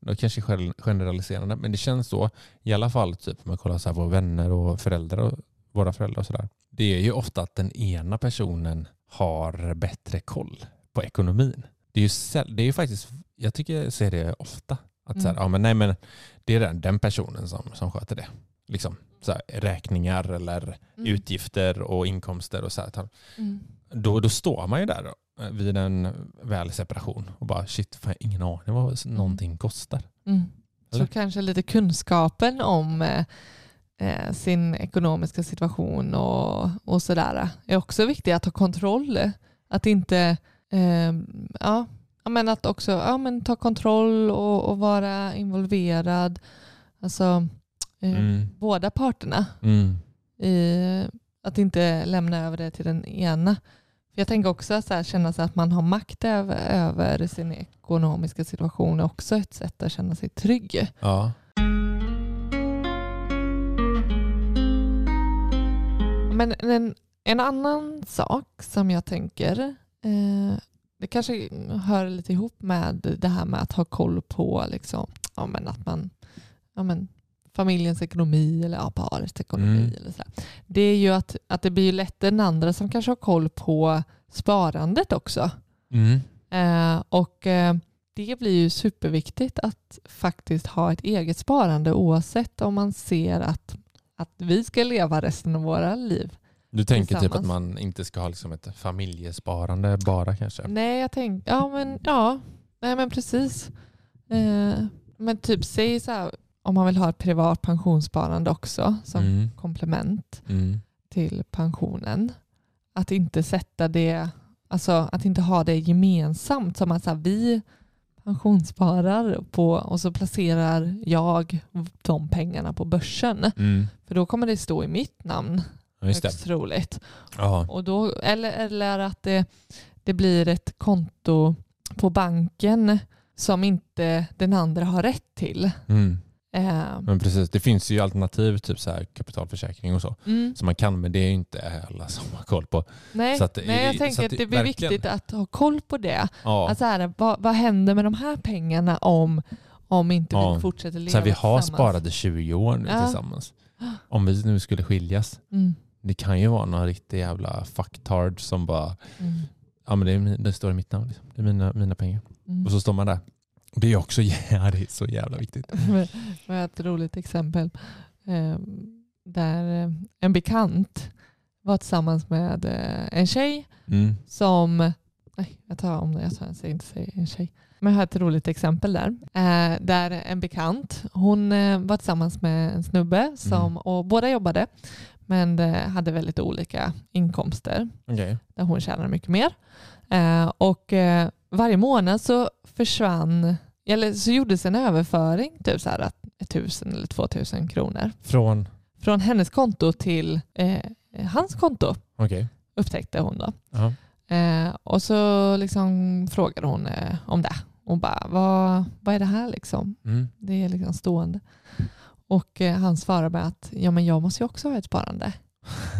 S2: då kanske gen- generaliserande, men det känns så, i alla fall typ om man kollar så här, våra vänner och föräldrar och våra föräldrar och sådär. Det är ju ofta att den ena personen har bättre koll på ekonomin. Det är ju, säll- det är ju faktiskt, jag tycker jag ser det ofta, att så här,
S3: Mm.
S2: ja, men nej, men det är den, den personen som, som sköter det. Liksom, så här, räkningar eller
S3: Mm.
S2: utgifter och inkomster och så här
S3: Mm.
S2: då, då står man ju där då, eh, vid en väl separation och bara shit, fan, jag har ingen aning vad s- någonting kostar.
S3: Mm. Så
S2: Eller?
S3: kanske lite kunskapen om eh, eh, sin ekonomiska situation och, och sådär eh, är också viktigt att ha kontroll. Att inte, eh, ja, ja, men att också ja, men ta kontroll och, och vara involverad. Alltså eh, båda parterna.
S2: Mm.
S3: i Eh, att inte lämna över det till den ena. För jag tänker också att så här, känna sig att man har makt över, över sin ekonomiska situation är också ett sätt att känna sig trygg.
S2: Ja.
S3: Men en, en annan sak som jag tänker, eh, det kanske hör lite ihop med det här med att ha koll på liksom, ja, men att man, ja, men familjens ekonomi eller ja, parets ekonomi.
S2: Mm.
S3: Eller så där. Det är ju att, att det blir ju lätt den andra som kanske har koll på sparandet också.
S2: Mm.
S3: Eh, och eh, det blir ju superviktigt att faktiskt ha ett eget sparande oavsett om man ser att, att vi ska leva resten av våra liv.
S2: Du tänker typ att
S3: Tillsammans.
S2: man inte ska ha liksom ett familjesparande bara kanske?
S3: Nej, jag tänkte, ja men ja, nej men precis. Eh, men typ säg så här, om man vill ha ett privat pensionssparande också som
S2: Mm.
S3: komplement
S2: Mm.
S3: till pensionen. Att inte sätta det, alltså att inte ha det gemensamt som att så här, vi pensionssparar på och så placerar jag de pengarna på börsen.
S2: Mm.
S3: För då kommer det stå i mitt namn
S2: Ja, just det.
S3: högst troligt.
S2: Ja.
S3: Och då, eller, eller att det, det blir ett konto på banken som inte den andra har rätt till.
S2: Mm.
S3: Eh,
S2: Men precis, det finns ju alternativ, typ så här kapitalförsäkring och så,
S3: mm.
S2: som man kan, men det är ju inte alla som har koll på.
S3: Nej,
S2: så att det-
S3: nej, jag
S2: så
S3: tänker
S2: att
S3: att
S2: det
S3: det blir
S2: verkligen-
S3: viktigt att ha koll på det.
S2: Ja.
S3: Att så här, vad, vad händer med de här pengarna om, om inte
S2: Ja.
S3: vi fortsätter leva
S2: så här, vi har
S3: tillsammans?
S2: sparade 20 år nu
S3: Ja.
S2: tillsammans. Om vi nu skulle skiljas,
S3: Mm.
S2: det kan ju vara någon riktig jävla fucktard som bara,
S3: Mm.
S2: ja men det, är, min- det står i mitt namn, liksom. det är mina, mina pengar.
S3: Mm.
S2: Och så står man där. Det är också ja, det är så jävla viktigt.
S3: Men- men ett roligt exempel eh, där eh, en bekant var tillsammans med eh, en tjej
S2: Mm.
S3: som, nej jag tar om det, jag tar, jag säger inte säger en tjej. Men jag har ett roligt exempel där. Eh, där en bekant, hon eh, var tillsammans med en snubbe som,
S2: Mm.
S3: och båda jobbade men eh, hade väldigt olika inkomster
S2: Okej.
S3: där hon tjänade mycket mer. Eh, och eh, varje månad så försvann, eller så gjordes en överföring, typ så här att 1000 eller 2000 kronor
S2: Från,
S3: från hennes konto till eh, hans konto
S2: okej.
S3: upptäckte hon då.
S2: Ja.
S3: Eh, och så liksom frågade hon eh, om det. Hon bara, vad, vad är det här liksom?
S2: Mm.
S3: Det är liksom stående. Och eh, han svarade med att ja, men jag måste ju också ha ett sparande.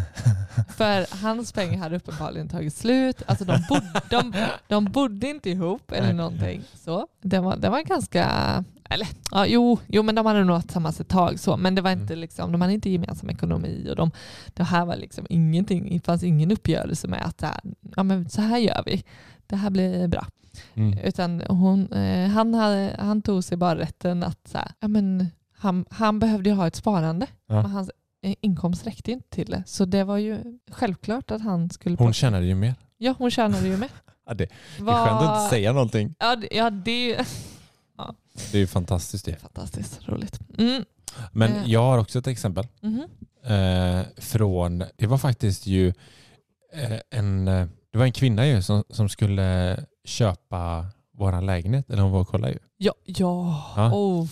S3: För hans pengar hade uppenbarligen tagit slut. Alltså de, bod, de, de bodde inte ihop eller
S2: Nej.
S3: någonting. Så det var, det var ganska... Eller ja, jo, jo, men de hade nog varit tillsammans ett tag. Så, men det var inte
S2: Mm.
S3: liksom, de hade inte gemensam ekonomi. Och de, det här var liksom ingenting. Det fanns ingen uppgörelse med att det här, ja, men så här gör vi. Det här blir bra.
S2: Mm.
S3: Utan hon, eh, han, hade, han tog sig bara rätten att så här, ja, men han, han behövde ju ha ett sparande.
S2: Ja.
S3: Men hans eh, inkomst räckte inte till det. Så det var ju självklart att han skulle...
S2: Hon tjänade ju mer.
S3: ja, hon tjänade ju med.
S2: Ja, det,
S3: Vad-
S2: säga någonting.
S3: Ja, det, ja, det är
S2: Det är ju fantastiskt det.
S3: fantastiskt roligt. Mm. Eh.
S2: Men jag har också ett exempel.
S3: mhm.
S2: Eh, från, det var faktiskt ju eh, en, eh, det var en kvinna ju som, som skulle köpa vår lägenhet, eller hon var och kollade ju.
S3: Ja, ja.
S2: Ja.
S3: Oh.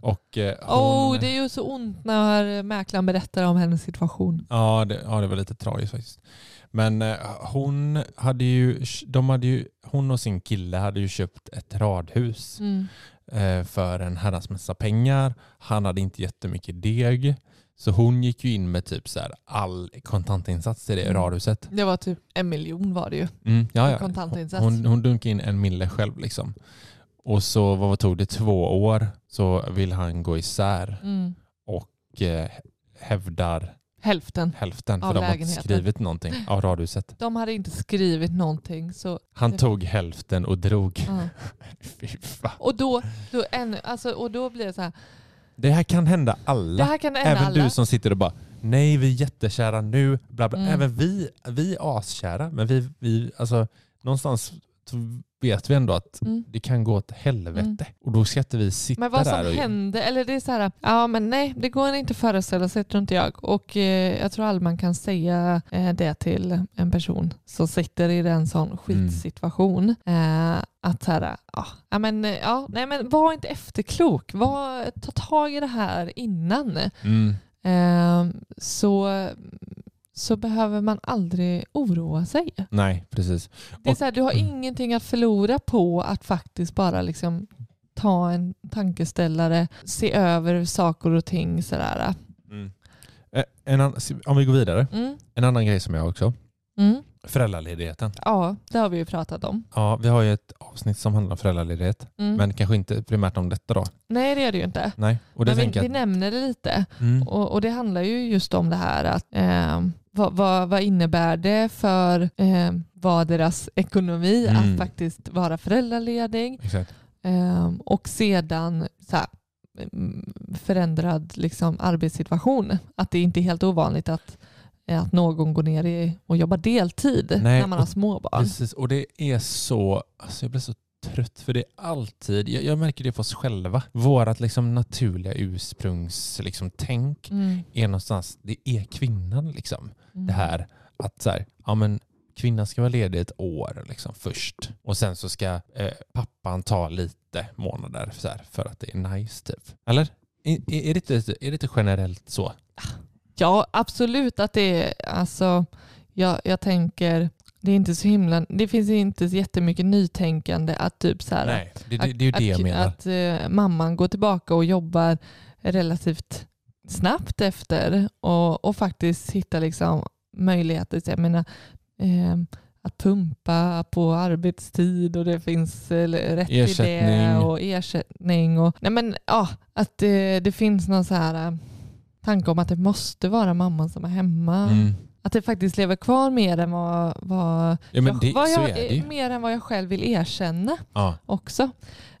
S2: Och, eh, hon,
S3: oh, det är ju så ont när mäklaren berättar om hennes situation.
S2: Ja, det, ja, det var lite tragiskt faktiskt. Men eh, hon, hade ju, de hade ju, hon och sin kille hade ju köpt ett radhus
S3: Mm.
S2: eh, för en herrans massa pengar. Han hade inte jättemycket deg. Så hon gick ju in med typ så här all kontantinsats i det
S3: Mm.
S2: radhuset.
S3: Det var typ en miljon var det ju.
S2: Mm, ja,
S3: En
S2: ja.
S3: kontantinsats.
S2: Hon, hon dunkade in en mille själv liksom. Och så vad tog det? Två år så vill han gå isär
S3: Mm.
S2: och eh, hävdar
S3: Hälften.
S2: hälften. För
S3: Av
S2: de har inte
S3: lägenheten.
S2: skrivit någonting av radhuset.
S3: De hade inte skrivit någonting. Så,
S2: Han tog hälften och drog.
S3: ja.
S2: Fy fan.
S3: Och då, då, ännu, alltså, och då blir det så här,
S2: Det här kan hända
S3: det
S2: alla.
S3: här kan hända
S2: Även
S3: alla.
S2: du som sitter och bara nej vi är jättekära nu. Bla bla.
S3: Mm.
S2: Även vi, vi är askära men vi, vi, alltså, någonstans vet vi ändå att
S3: Mm.
S2: det kan gå åt helvete.
S3: Mm.
S2: Och då ska inte vi sitta
S3: Men vad
S2: där
S3: som
S2: och
S3: hände, eller det är så här, ja men nej det går inte att föreställa sig tror inte jag. Och eh, jag tror aldrig man kan säga eh, det till en person som sitter i en
S2: Mm.
S3: sån skitsituation. Eh, att så här, ja, ja, men, eh, ja nej men var inte efterklok, var, ta tag i det här innan.
S2: Mm.
S3: Eh, så, så behöver man aldrig oroa sig.
S2: Nej, precis.
S3: Det är
S2: Och-
S3: så här, du har ingenting att förlora på att faktiskt bara liksom ta en tankeställare, se över saker och ting. Sådär.
S2: Eh, En annan, om vi går vidare.
S3: Mm.
S2: En annan grej som jag har också.
S3: Mm.
S2: Föräldraledigheten.
S3: Ja, det har vi ju pratat om.
S2: Ja, vi har ju ett avsnitt som handlar om föräldraledighet.
S3: Mm.
S2: Men kanske inte primärt om detta då.
S3: Nej, det är det ju inte.
S2: Nej. Och det
S3: Men vi,
S2: tänker
S3: vi
S2: jag att,
S3: nämner det lite.
S2: mm,
S3: Och, och det handlar ju just om det här att eh, vad, vad, vad innebär det för eh, vad deras ekonomi
S2: Mm.
S3: att faktiskt vara föräldraledig
S2: exakt.
S3: eh, och sedan så här, mm, förändrad liksom, arbetssituation. Att det inte är helt ovanligt att, att någon går ner i, och jobbar deltid
S2: Nej,
S3: när man
S2: och-
S3: har småbarn.
S2: Precis. Och det är så, alltså jag blir så trött för det är alltid, jag, jag märker det på oss själva, vårat liksom naturliga ursprungs liksom, tänk
S3: Mm,
S2: är någonstans, det är kvinnan liksom.
S3: mm,
S2: Det här att så här, ja men kvinnan ska vara ledig ett år liksom först och sen så ska eh, pappan ta lite månader så här, för att det är nice typ. Eller? Är, är, är, det inte, är det inte generellt så?
S3: Ja, absolut att det är, alltså, jag, jag tänker, det är inte så himla, det finns inte så jättemycket nytänkande att typ så här,
S2: Nej, det, det, det är ju
S3: att,
S2: det jag
S3: att,
S2: menar.
S3: Att eh, mamman går tillbaka och jobbar relativt snabbt efter och, och faktiskt hittar liksom möjligheter. Så Jag menar, eh, att pumpa på arbetstid och det finns eh, rätt till det
S2: Ersättning.
S3: och ersättning. Och, nej men, ja, att eh, det finns någon så här eh, tanke om att det måste vara mamman som är hemma.
S2: Mm.
S3: Att det faktiskt lever kvar mer än vad, vad,
S2: Ja, men
S3: jag-
S2: det,
S3: vad
S2: så
S3: jag,
S2: är det ju.
S3: mer än vad jag själv vill erkänna
S2: Ja.
S3: också.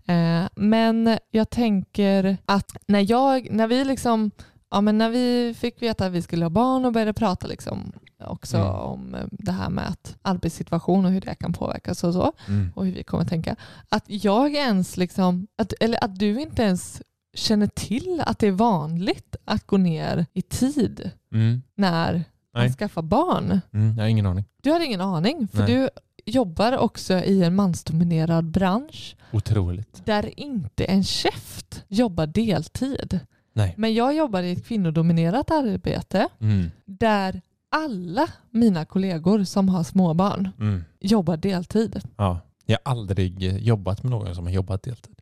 S3: Eh, men jag tänker att när, jag, när vi liksom Ja, men när vi fick veta att vi skulle ha barn och började prata liksom också
S2: Mm.
S3: om eh, det här med att arbetssituation och hur det kan påverkas och så
S2: Mm.
S3: och hur vi kommer tänka. Att jag ens liksom, att, eller att du inte ens känner till att det är vanligt att gå ner i tid
S2: Mm.
S3: när man
S2: Nej.
S3: skaffar barn.
S2: Mm. Jag har ingen aning.
S3: Du hade ingen aning för
S2: Nej.
S3: du jobbar också i en mansdominerad bransch
S2: Otroligt.
S3: där inte en käft jobbar deltid.
S2: Nej.
S3: Men jag jobbar i ett kvinnodominerat arbete
S2: Mm.
S3: där alla mina kollegor som har småbarn
S2: Mm.
S3: jobbar deltid.
S2: Ja. Jag har aldrig eh, jobbat med någon som har jobbat deltid.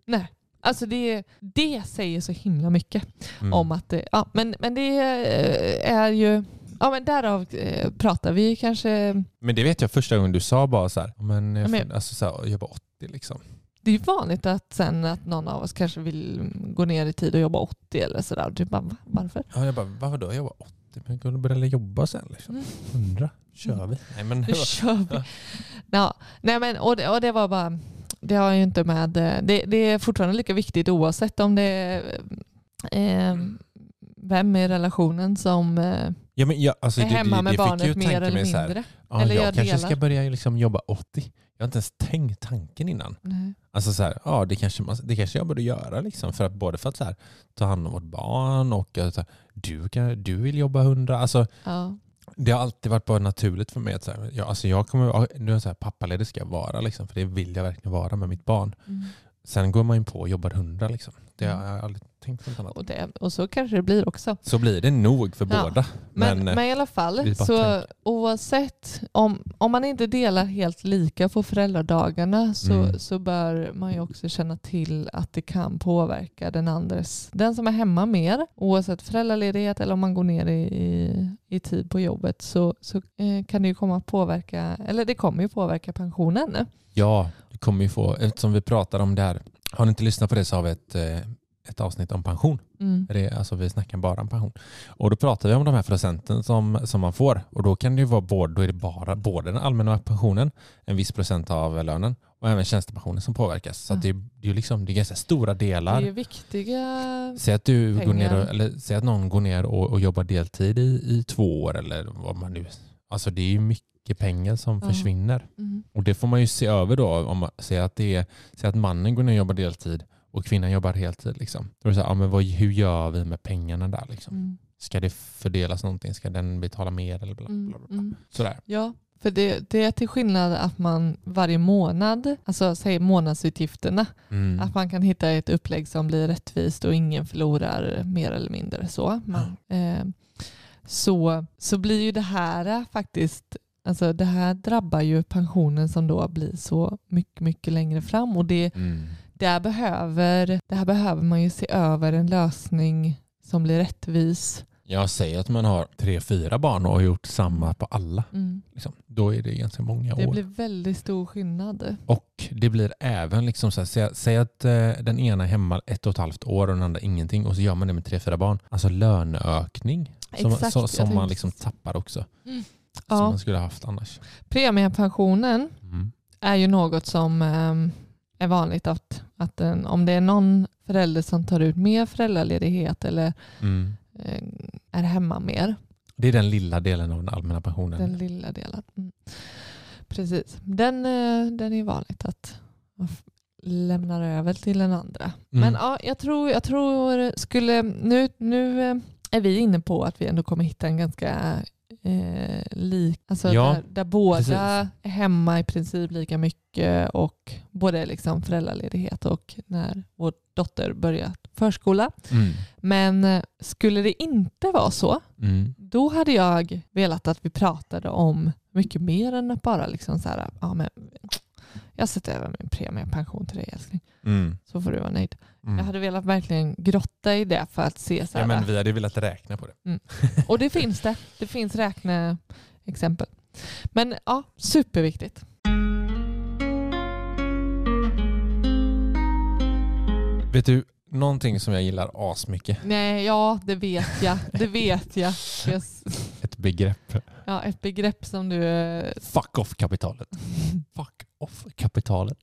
S3: Alltså det, det säger så himla mycket
S2: Mm.
S3: om att det, ja, men, men det eh, är ju, ja men därav eh, pratar vi kanske,
S2: Men det vet jag första gången du sa bara så här, men, jag,
S3: Men-
S2: men... Alltså, så här, jag var 80 liksom.
S3: det är ju vanligt att sen att någon av oss kanske vill gå ner i tid och jobba 80 eller sådär. Du bara, "Va? varför?
S2: Ja, jag bara, vad då? Jag var 80, men jag började jobba sen liksom.
S3: Mm.
S2: 100, kör vi? Nej, men,
S3: Nu kör vi. Ja. Nej, men, och, det, och det var bara, det har ju inte med, det, det är fortfarande lika viktigt oavsett om det är eh, vem i relationen som eh,
S2: ja, men jag, alltså,
S3: är hemma med barnet mer eller
S2: mig så här,
S3: mindre.
S2: Ja,
S3: Eller
S2: jag,
S3: jag
S2: kanske
S3: delar.
S2: ska börja liksom jobba 80. Jag har inte ens tänkt tanken innan.
S3: Nej.
S2: Alltså så här, ja, det, kanske man, det kanske jag borde göra. Liksom för att, både för att så här, ta hand om vårt barn och att så här, du, kan, du vill jobba 100. Alltså,
S3: Ja.
S2: det har alltid varit bara naturligt för mig. Att, så här, jag, alltså, jag kommer, ja, nu är jag så här, pappaledig ska jag vara. Liksom, för det vill jag verkligen vara med mitt barn.
S3: Mm.
S2: Sen går man ju på och jobbar 100. Liksom. Det har jag aldrig tänkt på något annat.
S3: Och, det, och så kanske det blir också.
S2: Så blir det nog för
S3: Ja,
S2: båda.
S3: Men,
S2: Men,
S3: men,
S2: eh,
S3: i alla
S2: det
S3: fall,
S2: är bara
S3: så
S2: tänk.
S3: oavsett om, om man inte delar helt lika på föräldradagarna så,
S2: Mm.
S3: så bör man ju också känna till att det kan påverka den andres, den som är hemma mer, oavsett föräldraledighet eller om man går ner i, i, i tid på jobbet så, så eh, kan det ju komma att påverka, eller det kommer ju påverka pensionen.
S2: Ja, du kommer ju få, eftersom vi pratar om det här. Har ni inte lyssnat på det så har vi ett, eh, ett avsnitt om pension.
S3: Mm.
S2: Det, är- alltså vi snackar bara om pension. Och då pratar vi om de här procenten som, som man får. Och då kan det ju vara både, då är det bara, både den allmänna pensionen, en viss procent av lönen och även tjänstepensionen som påverkas. Så att det, är- det, är ju liksom, det är ganska stora
S3: Det är
S2: delar.
S3: ju viktiga...
S2: Säg att, du går ner och,
S3: pengar.
S2: eller, säg att någon går ner och, och jobbar deltid i, i två år eller vad man nu... Alltså det är ju mycket pengar som
S3: Ja.
S2: försvinner.
S3: Mm.
S2: Och det får man ju se över då. Om man säger att, det är, säg att mannen går ner och jobbar deltid och kvinnan jobbar heltid. Liksom. Då är det så här, ja, men vad, hur gör vi med pengarna där? Liksom?
S3: Mm.
S2: Ska det fördelas någonting? Ska den betala mer? Eller bla, bla,
S3: Mm.
S2: bla, bla.
S3: Mm.
S2: Sådär.
S3: Ja, för det, det är till skillnad att man varje månad, alltså säg månadsutgifterna,
S2: Mm.
S3: att man kan hitta ett upplägg som blir rättvist och ingen förlorar mer eller mindre så. Man, eh, så, så blir ju det här eh, faktiskt, alltså det här drabbar ju pensionen som då blir så mycket, mycket längre fram och det,
S2: Mm.
S3: där, behöver, det här behöver man ju se över en lösning som blir rättvis.
S2: Jag säger att man har tre, fyra barn och har gjort samma på alla.
S3: Mm.
S2: Liksom. Då är det ganska många
S3: Det
S2: år.
S3: blir väldigt stor skillnad.
S2: Och det blir även, liksom så här, säg, säg att eh, den ena är hemma ett och ett halvt år och den andra ingenting och så gör man det med tre, fyra barn. Alltså löneökning som,
S3: Exakt,
S2: så,
S3: jag
S2: som man
S3: tänkte-
S2: liksom tappar också. Som
S3: Ja.
S2: man skulle ha haft annars.
S3: Premiepensionen
S2: Mm.
S3: är ju något som ehm, är vanligt att, att en, om det är någon förälder som tar ut mer föräldraledighet eller
S2: Mm.
S3: eh, är hemma mer,
S2: Det är den lilla delen av den allmänna pensionen.
S3: den lilla delen. Mm. Precis, den, eh, den är vanligt att man f- lämnar över till den andra.
S2: Mm.
S3: Men ja, jag tror, jag tror skulle, nu, nu eh, är vi inne på att vi ändå kommer hitta en ganska eh, lik, alltså
S2: Ja,
S3: där, där båda
S2: precis.
S3: är hemma i princip lika mycket och både är liksom föräldraledighet och när vår dotter börjar förskola.
S2: Mm.
S3: Men eh, skulle det inte vara så,
S2: Mm.
S3: då hade jag velat att vi pratade om mycket mer än att bara liksom så här, ja men jag sätter över min premiepension till dig älskling,
S2: Mm.
S3: så får du vara nöjd.
S2: Mm.
S3: Jag hade velat verkligen grotta i det för att se så här,
S2: ja, men vi hade velat räkna på det.
S3: och det finns det. Det finns räkneexempel. Men ja, superviktigt.
S2: Vet du, någonting som jag gillar asmycket.
S3: Nej, ja det vet jag. Det vet jag. jag s-
S2: Ett begrepp.
S3: ja, ett begrepp som du... eh,
S2: Fuck off-kapitalet. Fuck off-kapitalet.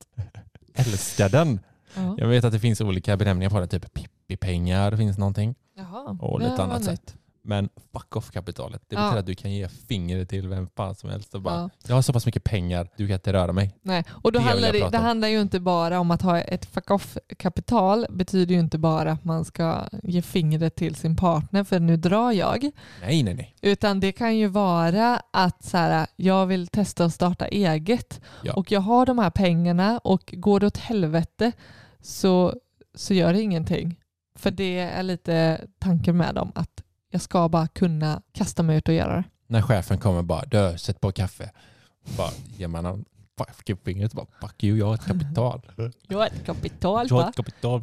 S2: Älskar den.
S3: Ja.
S2: Jag vet att det finns olika benämningar på det, typ pippi-pengar finns någonting.
S3: Jaha,
S2: Och
S3: det
S2: lite
S3: var
S2: annat
S3: nytt.
S2: Men fuck off-kapitalet, det
S3: Ja.
S2: betyder att du kan ge fingret till vem fan som helst och bara
S3: Ja.
S2: jag har så pass mycket pengar, du kan inte röra mig.
S3: Nej. Och då
S2: Det vill
S3: handlar
S2: jag
S3: det,
S2: prata
S3: det
S2: om.
S3: handlar ju inte bara om att ha ett fuck off-kapital. betyder ju inte bara att man ska ge fingret till sin partner för nu drar jag.
S2: Nej, nej, nej.
S3: Utan det kan ju vara att så här, jag vill testa att starta eget
S2: Ja.
S3: och jag har de här pengarna och går det åt helvete så, så gör det ingenting. För det är lite tanken med dem att jag ska bara kunna kasta mig ut och göra det.
S2: När chefen kommer bara dö, sätt på kaffe. Bara ger man honom fuck fingret bara fuck you, jag har ett kapital.
S3: Jag har ett kapital
S2: Jag har ett kapital.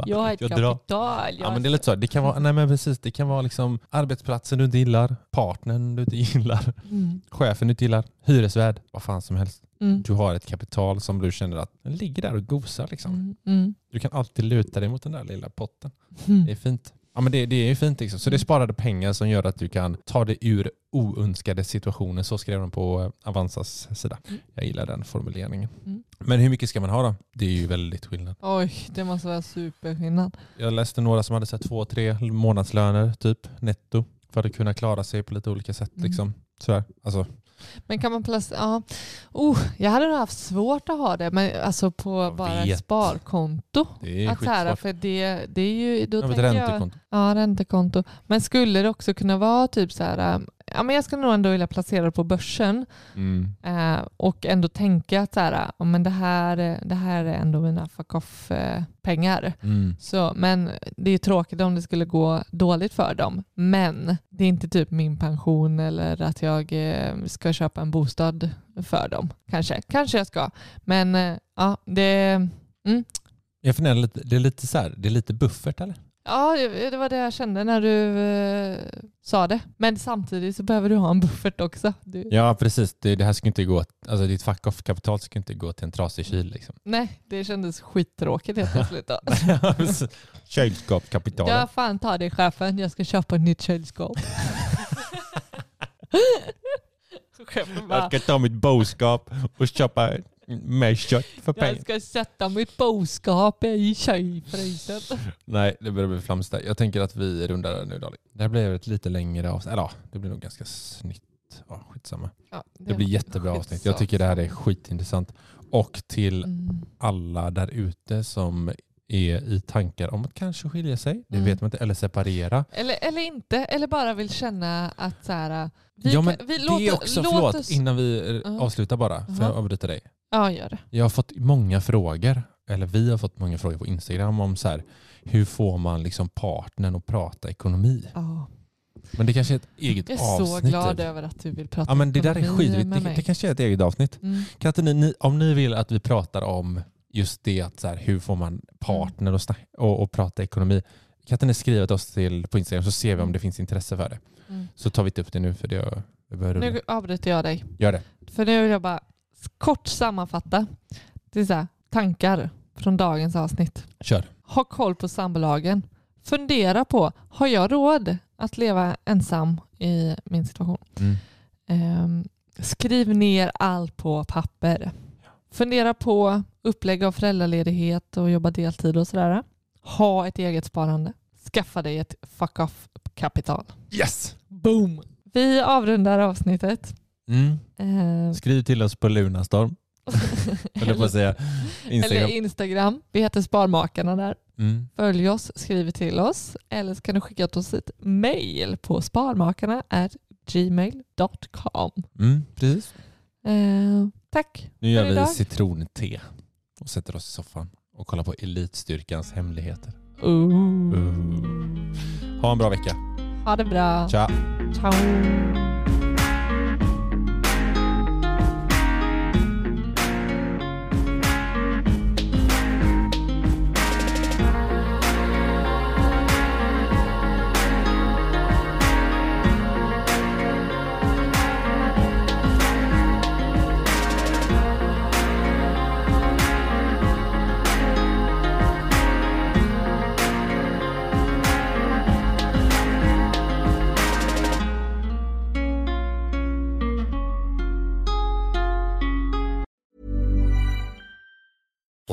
S2: va? drar. Ja, men det är lite så. Det kan vara, nej, men precis, det kan vara liksom arbetsplatsen du inte gillar, partnern du inte gillar,
S3: Mm.
S2: chefen du inte gillar, hyresvärd, vad fan som helst.
S3: Mm.
S2: Du har ett kapital som du känner att den ligger där och gosar. Liksom.
S3: Mm. Mm.
S2: Du kan alltid luta dig mot den där lilla potten. Det
S3: Mm.
S2: är fint. Ja, men det, det är ju fint. Liksom. Så det är sparade pengar som gör att du kan ta dig ur oönskade situationer. Så skrev de på eh, Avanzas sida. Jag gillar den formuleringen.
S3: Mm.
S2: Men hur mycket ska man ha då? Det är ju väldigt skillnad.
S3: Oj, det måste vara superskillnad.
S2: Jag läste några som hade sett två, tre månadslöner typ netto för att kunna klara sig på lite olika sätt.
S3: Mm.
S2: Liksom. Sådär. Alltså,
S3: Men kan man placera... Ja. Oh, jag hade nog haft svårt att ha det men alltså på
S2: Jag
S3: bara
S2: vet.
S3: ett sparkonto.
S2: det är
S3: att så här,
S2: skitsvårt.
S3: för det, det är ju... Då
S2: Över ett
S3: tänker jag,
S2: räntekonto.
S3: Ja, räntekonto. Men skulle det också kunna vara typ så här, ähm, ja men jag skulle nog ändå vilja placera det på börsen
S2: Mm.
S3: eh, och ändå tänka att så här, ja, men det, här, eh, det här är ändå mina fuck eh, off-pengar.
S2: Mm.
S3: Så, men det är ju tråkigt om det skulle gå dåligt för dem. Men det är inte typ min pension eller att jag eh, ska köpa en bostad för dem. Kanske, kanske jag ska. Men eh, ja, det,
S2: Jag funderar lite, det är lite så här, det är lite buffert eller?
S3: Ja, det det var det jag kände när du eh, sa det. Men samtidigt så behöver du ha en buffert också. Du,
S2: Ja precis, det, det här ska inte gå, alltså ditt fuck off-kapital ska inte gå till en trasig kyl liksom.
S3: Nej, det kändes skittråkigt helt plötsligt. Då.
S2: Ja, precis. Kylskåpskapitalet.
S3: jag fan ta det chefen, jag ska köpa ett nytt kylskåp. chefen bara,
S2: ska ta mitt boskap och köpa mer kött för
S3: jag ska sätta mitt boskap i kylfrysen.
S2: Nej, det börjar bli flamsigt. där. Jag tänker att vi rundar nu Dali. Det här blir ett lite längre avsnitt. Eller ja, det blir nog ganska snitt. Ja, skitsamma.
S3: Ja,
S2: Det blir jättebra avsnitt. Jag tycker det här är skitintressant. Och till
S3: Mm.
S2: alla där ute som är i tankar om att kanske skilja sig. Det
S3: Mm.
S2: vet man inte. Eller separera.
S3: Eller, eller inte, eller bara vill känna att så här, äh, vi,
S2: ja, men
S3: kan- vi
S2: det
S3: låt,
S2: är också,
S3: låt
S2: förlåt,
S3: oss...
S2: innan vi eh,
S3: Ja.
S2: avslutar bara. För
S3: Jaha.
S2: jag avbryter dig.
S3: Ja, gör det.
S2: Jag har fått många frågor, eller vi har fått många frågor på Instagram om så här, hur får man liksom partnern att prata ekonomi?
S3: Ja.
S2: Men det kanske är ett eget
S3: Jag är
S2: avsnitt.
S3: så glad
S2: typ.
S3: över att du vill prata
S2: Ja men det där är
S3: ekonomi
S2: skitviktigt.
S3: med
S2: Det,
S3: mig.
S2: det kanske är ett eget avsnitt.
S3: Mm.
S2: Kan inte ni, ni, om ni vill att vi pratar om just det, att så här, hur får
S3: Mm.
S2: man partner och, snack, och, och prata ekonomi. Kan inte ni skriva till oss till, på Instagram så ser vi om det finns intresse för det.
S3: Mm.
S2: Så tar vi inte upp det nu för det jag börjar
S3: Nu
S2: rulla.
S3: avbryter jag dig.
S2: Gör det.
S3: För nu vill jag bara kort sammanfatta. Det är så här, tankar från dagens avsnitt.
S2: Kör.
S3: Ha koll på sambolagen. Fundera på, har jag råd att leva ensam i min situation?
S2: Mm.
S3: Ehm, skriv ner allt på papper. Fundera på upplägg av föräldraledighet och jobba deltid och sådär. Ha ett eget sparande. Skaffa dig ett fuck off-kapital.
S2: Yes!
S3: Boom! Vi avrundar avsnittet.
S2: Mm.
S3: Eh,
S2: Skriv till oss på Lunarstorm. Eller på att säga
S3: eller
S2: Instagram.
S3: Instagram. Vi heter Sparmakarna där.
S2: Mm.
S3: Följ oss, skriv till oss. Eller så kan du skicka till oss ett mejl på sparmakarna gmail.com.
S6: Mm, precis.
S3: Eh, tack
S6: Nu gör
S3: för idag.
S6: vi citronte och sätter oss i soffan och kollar på Elitstyrkans hemligheter.
S3: Ooh.
S6: Ha en bra vecka.
S3: Ha det bra.
S6: Ciao.
S3: Ciao.